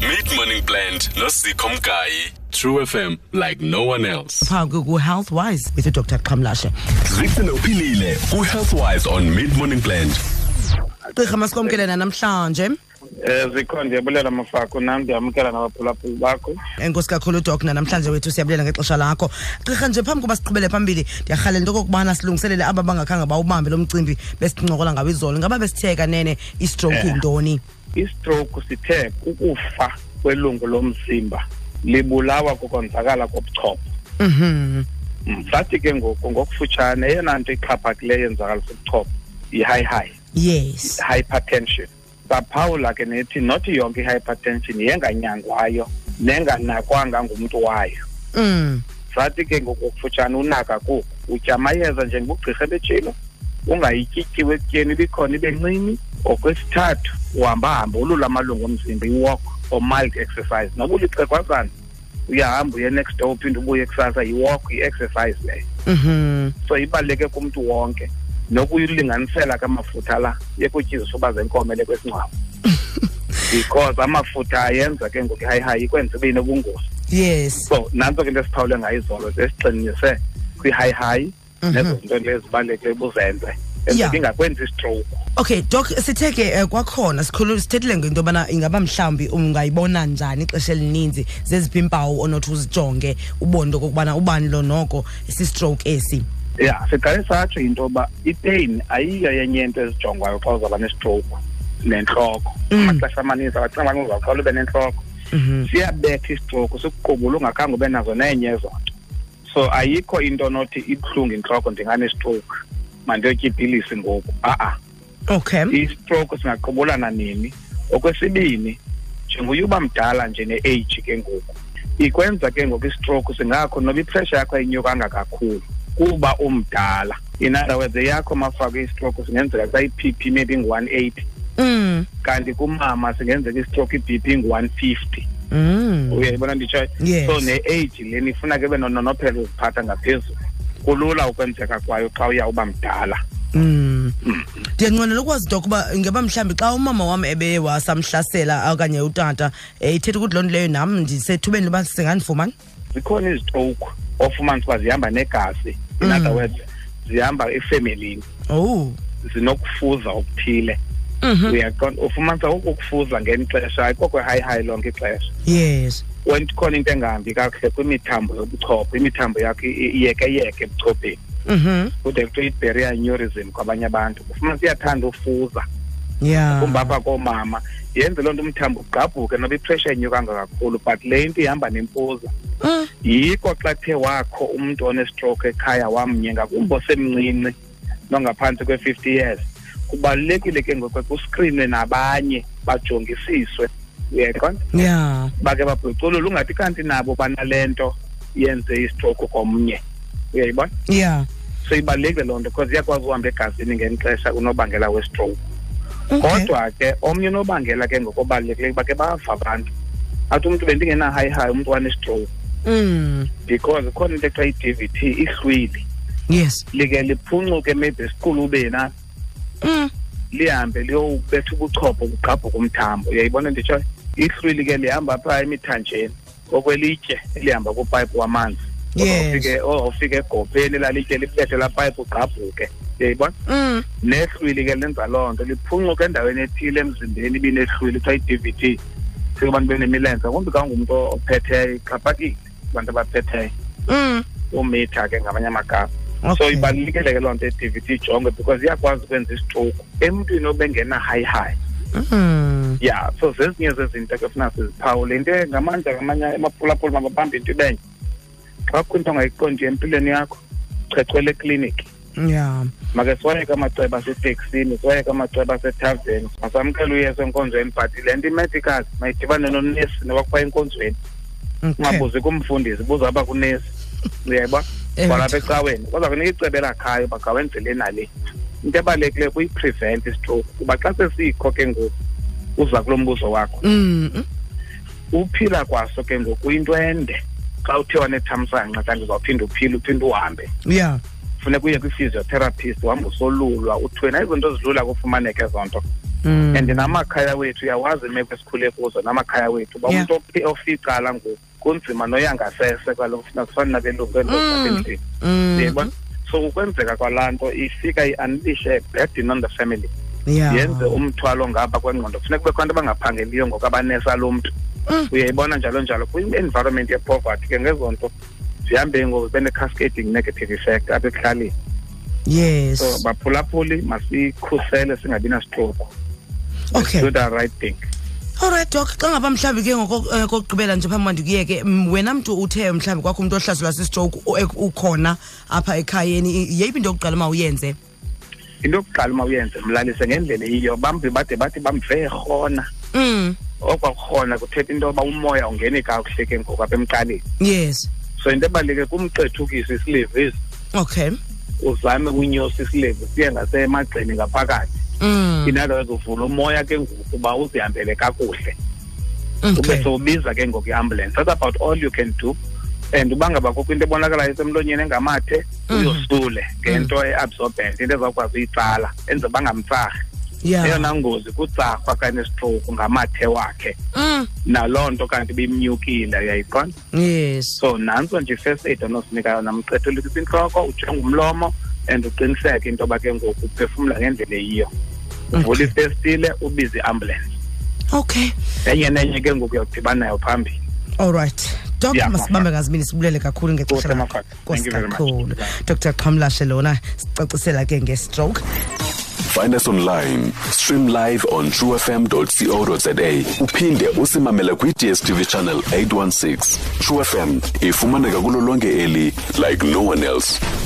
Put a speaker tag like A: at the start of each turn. A: Mid Morning Blend noSikho Mgayi. True FM like no one else.
B: phambi ku-health wise with udr qhamlashe
A: Listen uphilile ku Healthwise on Mid Morning Blend.
B: gqirha masikwamkelana namhlanje
C: Eh zikhona ndiyabulela mafako nam ndiyamkela nabaphulaphuli bakho.
B: enkosi kakhulu udok namhlanje wethu siyabulela ngexesha lakho gqirha nje phambi koba siqhubele phambili ndirhalela into okokubana silungiselele aba bangakhange bawubambe lo mcimbi besincokola ngawo izolo ngaba besitheka nene istroke
C: Eh.
B: yintoni
C: I-stroke sithe ukufa kwelungu lomzimba libulawa kukonzakala kobuchopho.
B: Mhm.
C: Mm, Sathi ke ngoku ngokufutshane eyona nto ixhaphakileyo yenzakala sobuchopho yi-high high
B: yes
C: hypertension. Saphawula ke nethi not yonke i-hypertension yenganyangwayo nenganakwanga ngumntu wayo.
B: Mm.
C: sathi ke ngokufutshane unaka kuko utya amayeza njengobugqirha betshilo ungayityityiwe ekutyeni ibikhona ibencinci okwesithathu uhamba-hamba ulula amalungu omzimba iwalk or mild exercise noba ulixekwazana uyahamba uye next door uphinde ubuye kusasa yiwalk i-exercise leyo
B: Mhm.
C: so ibaluleke kumntu wonke nokuyilinganisela kamafutha la yekutya izisuba zenkomele kwesingcwabo because amafutha ayenza ke ngoku ihayihayi ikwenza ibe nobungozi
B: yes
C: so nantso ke into esiphawule ngayo izolo zesigxininise kwi-high high nezo zinto lezibalulekileyo buzenze
B: Mhm. Yeah.
C: enzeke ingakwenzi istroke
B: okay dok sithe ke eh, kwakhona sikhulu sithethile ngento yobana ingaba mhlawumbi ungayibona njani ixesha elininzi zeziphi iimpawu onothi uzijonge ubone into okokubana ubani lo noko sistroke esi
C: ya siqale satsho into yoba ipain ayiyo yenye into ezijongwayo xa uzawuba nestroke nentloko
B: Mm.
C: amaxesha amaninzi abacinga bani uzawuqala ube nentloko
B: Mhm.
C: siyabetha istroke sikuqubula ungakhange ube nazo nenye ezo nto so ayikho into onothi ibuhlungu intloko ndinganestroke mandiyotya ipilisi ngoku a-a
B: okay
C: i-stroke singaqubulana nini okwesibini njengoba uba mdala nje ne-age ke ngoku ikwenza ke ngoku i-stroke singakho noba ipressure yakho ayinyukanga kakhulu kuba umdala in other words eyakho mafako i-stroke singenzeka kusayi-p p maybe ngu-one eighty
B: Mm.
C: kanti kumama singenzeka i-stroke i-b p ngu-one fifty
B: Mm.
C: uyayibona nditshoyo
B: Yes.
C: so ne-age leni ifuna ke be nononophelo uziphatha ngaphezulu kulula ukwenzeka kwayo xa uya uba mdala
B: Mm. ndiyanqwenela ukwazi into yokuba ingaba mhlawumbi xa umama wam ebeye wasamhlasela okanye utata um ithetha ukuthi loo nto leyo nam ndisethubeni loba singandifumani
C: zikhona izitoke ofumanisa uba zihamba negazi in other words zihamba efemelini
B: ow
C: zinokufuza okuthile
B: Mhm.
C: uyaqonda ufumanisa oku kufuza ngeli xesha ayikokwe-high high lonke ixesha
B: yes
C: when khona into engahambi kakuhle kwimithambo yobuchopho imithambo yakho i- iyekeyeke ebuchopheni
B: Mhm.
C: kude kuthiwa i-barrier aneurism kwabanye abantu ufumanisa iyathanda ufuza
B: yeah
C: kumba apha koomama yenze loo nto umthambo ugqabhuke noba ipressure enyukanga kakhulu but le nto ihamba nemfuza
B: Mm.
C: yiko xa kuthe wakho umntu onestroke ekhaya wamnye ngakumbi osemncinci nongaphantsi kwe-fifty years kubalulekile ke ngoku kuskrinwe nabanye bajongisiswe uyayiqonda
B: yeah
C: bake babhuculule ungathi kanti nabo banale nto yenze istroke komnye uyayibona
B: yeah
C: so ibalulekile loo nto because iyakwazi uhamba egazini ngeli xesha unobangela westroke
B: okay.
C: kodwa ke omnye unobangela ke ngokobalulekileyo uba ke bava abantu athi umntu bendingena-high high umntu wanestroke
B: Mm.
C: because khona into ekuthiwa i-dvt ihlwili
B: yes
C: like liphuncuke maybe siqulubena
B: Mm.
C: lihambe liyobetha ubuchopho bugqabhuka umthambo uyayibona nditsho ihlwili ke lihamba phaa emithanjeni okwelitye elihamba kupayipu wamanzi
B: Yes.
C: Ozawufike- ozawufika egopheni lalitye libethe laa payipu ugqabhuke uyayibona
B: Mm.
C: nehlwili ke lenza loo nto liphuncuke endaweni ethile emzimbeni ibinehlwili kuthiwa i-dvt fika abantu benemilenze kumbi kangumntu ophetheyo ixhaphakile abantu abaphetheyo
B: Mm.
C: umitha ke ngamanye amagama so
B: Okay.
C: ibalulekile ke loo nto i-dvt ijongwe because iyakwazi ukwenza istroke emntwini obengena-high high
B: Mm.
C: ya so zezinye zezinto ke funa siziphawule into ngamandla ngamanye emaphulaphula mababambe into ibenye xa kukho into ongayiqondiyo empilweni yakho chechwele ekliniki
B: yeah
C: make siwayeke amaceba aseteksini siwayeke amaceba asethaveni masamkele uyeso enkonzweni but le nto imedical mayidibane nonesi noba kuthiwa enkonzweni
B: okay
C: ungabuzi kumfundisi buza apha kunesi uyayiba
B: Eh.
C: kwalapha ecaweni baza kunika icebo elakhayo bagawenzele nale into ebalulekileyo kuyiprevent istroke kuba xa sesikho ke ngoku uza kulo mbuzo wakho
B: Mm. Mm.
C: uphila kwaso ke ngoku kuyinto ende xa uthe wanethamsanqa kanti uzawuphinda uphile uphinde uhambe
B: yeah
C: funeka uye kwi-physiotherapist uhambe usolulwa uthweni ayizinto zilula kufumaneke ezo nto
B: Mm.
C: and namakhaya wethu uyawazi imeko esikhule kuzo namakhaya wethu uba
B: Yeah.
C: umntu ophi- oficala ngoku kunzima noyangasese kwalo nasifani
B: Mm.
C: nabelungelendlini
B: Mm.
C: yebo so ukwenzeka kwalaa nto ifika i-unleashe a burden on the family
B: Yeah.
C: yenze um- umthwalo ngapha kwengqondo kufuneka kubekho abantu abangaphangeliyo ngoku abanesa lo mntu
B: Mm.
C: uyayibona njalo njalo kwi-environment yepoverty ke ngezo nto zihambe ngoku bene-cascading negative effect apha ekuhlaleni
B: Yes.
C: so baphulaphuli masikhusele singabi nastroke
B: Okay.
C: do the right thing
B: Alright doc, xa ngaba mhlambi ke ngoko eh, kokugqibela nje phambi kwandi kuyeke mm, wena mntu uthe mhlambi kwakho umuntu ohlaselwa sistroke u- ek- ukhona apha ekhayeni i- yeyiphi into yokuqala uma uyenze?
C: into yokuqala uma uyenze mlalise ngendlela iyo bambi bade bathi bamve rhona
B: Mm.
C: okwakurhona kuthetha into yoba umoya ungeni kakuhle ke ngoku apha emqaleni
B: Yes.
C: so into ebaluleke kumqethukisa isilevisi
B: Okay.
C: uzame unyosa isilevu siye ngasemagxini ngaphakathi
B: Mm.
C: in other words uvula umoya ke ngoku uba uzihambele kakuhle ube
B: Okay.
C: sowubiza ke ngoku iambulance that's about all you can do and uba ngaba kukho into ebonakalayo esemlonyeni engamathe
B: Mhm.
C: uyosule ngento e-absorbent into ezawukwazi uyitsala enze bangamtsarhi
B: Yeah.
C: eyona ngozi kutsarhwa okanye stroke ngamathe wakhe
B: Mm.
C: naloo nto kanti bimnyukile uyayiqonda
B: Yes.
C: so nantso nje i-first aid onosinika yona mqethelekisa intloko ujonge umlomo and uqiniseke into yoba ke ngoku uphefumla ngendlela eyiyo uvula ifestile ubize iambulance
B: Okay.
C: enye nenye ke ngoku uyawudibana nayo phambili
B: Alright. Doc
C: Yeah,
B: masibambe ngazibini sibulele kakhulu ngexesha
C: Kuhle,
B: lakho.
C: Mafaka. Thank you very much.
B: Nkosi Dr. Qhamlashe lona sicacisela ke nge-stroke.
A: Find us online. Stream live on truefm.co.za. Uphinde usimamele kwi-DSTV channel 816. True FM ifumaneka kulo lonke eli like no one else.